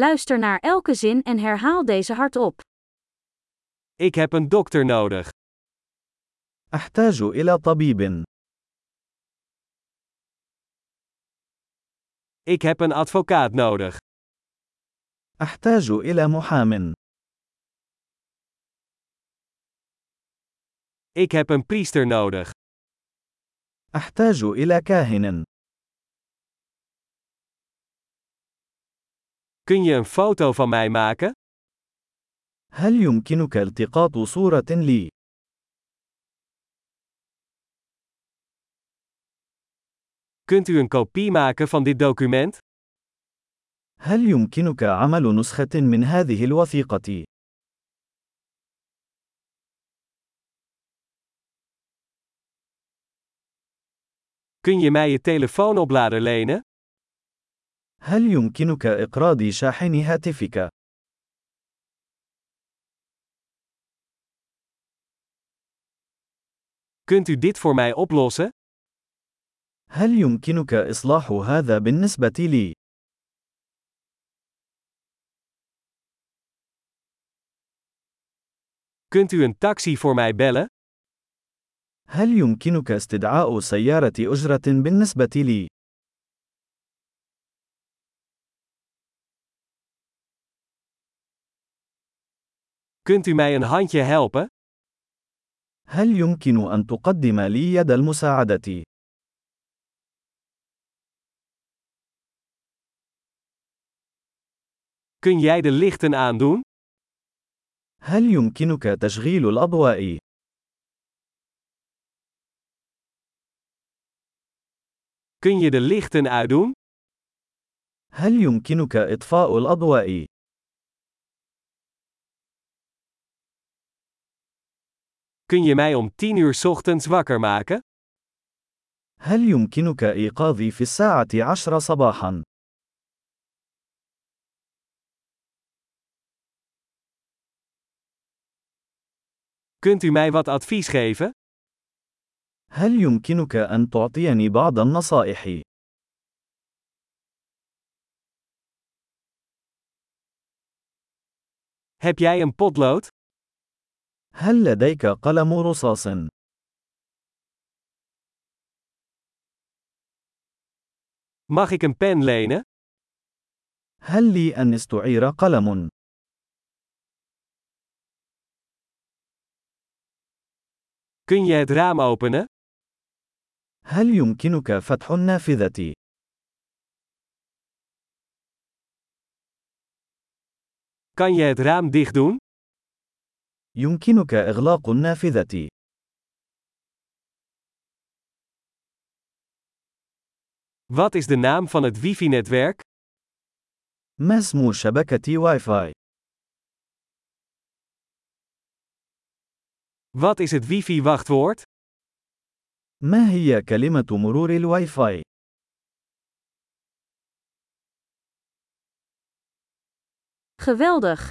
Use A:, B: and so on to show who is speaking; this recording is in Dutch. A: Luister naar elke zin en herhaal deze hardop.
B: Ik heb een dokter nodig.
C: أحتاج إلى طبيب.
B: Ik heb een advocaat nodig.
C: أحتاج إلى محام.
B: Ik heb een priester nodig.
C: أحتاج إلى كاهن.
B: Kun je een foto van mij maken?
C: هل يمكنك التقاط صورة لي؟
B: Kunt u een kopie maken van dit document?
C: هل يمكنك عمل نسخة من هذه الوثيقة؟
B: Kun je mij je telefoonoplader lenen?
C: هل يمكنك إقراض شاحن هاتفك؟
B: Kunt u dit voor mij oplossen?
C: هل يمكنك إصلاح هذا بالنسبة لي؟
B: Kunt u een taxi voor mij bellen?
C: هل يمكنك استدعاء سيارة أجرة بالنسبة لي؟
B: Kunt u mij een handje helpen?
C: هل يمكن أن تقدم لي يد المساعدة؟
B: Kun jij de lichten aandoen?
C: هل يمكنك تشغيل الأضواء؟
B: Kun je de lichten uitdoen?
C: هل يمكنك إطفاء الأضواء؟
B: Kun je mij om 10 uur 's ochtends wakker maken?
C: هل يمكنك إيقاظي في الساعة عشر صباحا؟
B: Kunt u mij wat advies geven?
C: هل يمكنك أن تعطيني بعض النصائح؟
B: Heb jij een potlood?
C: هل لديك قلم رصاص؟
B: Mag ik een pen lenen?
C: هل لي أن استعير قلم؟
B: Kun je het raam openen?
C: هل يمكنك فتح النافذة؟
B: Kan je het raam dicht doen?
C: يمكنك إغلاق النافذة.
B: Wat is de naam van het wifi-netwerk?
C: ما اسم شبكة واي فاي؟
B: Wat is het wifi-wachtwoord?
C: ما هي كلمة مرور الواي فاي؟
A: Geweldig!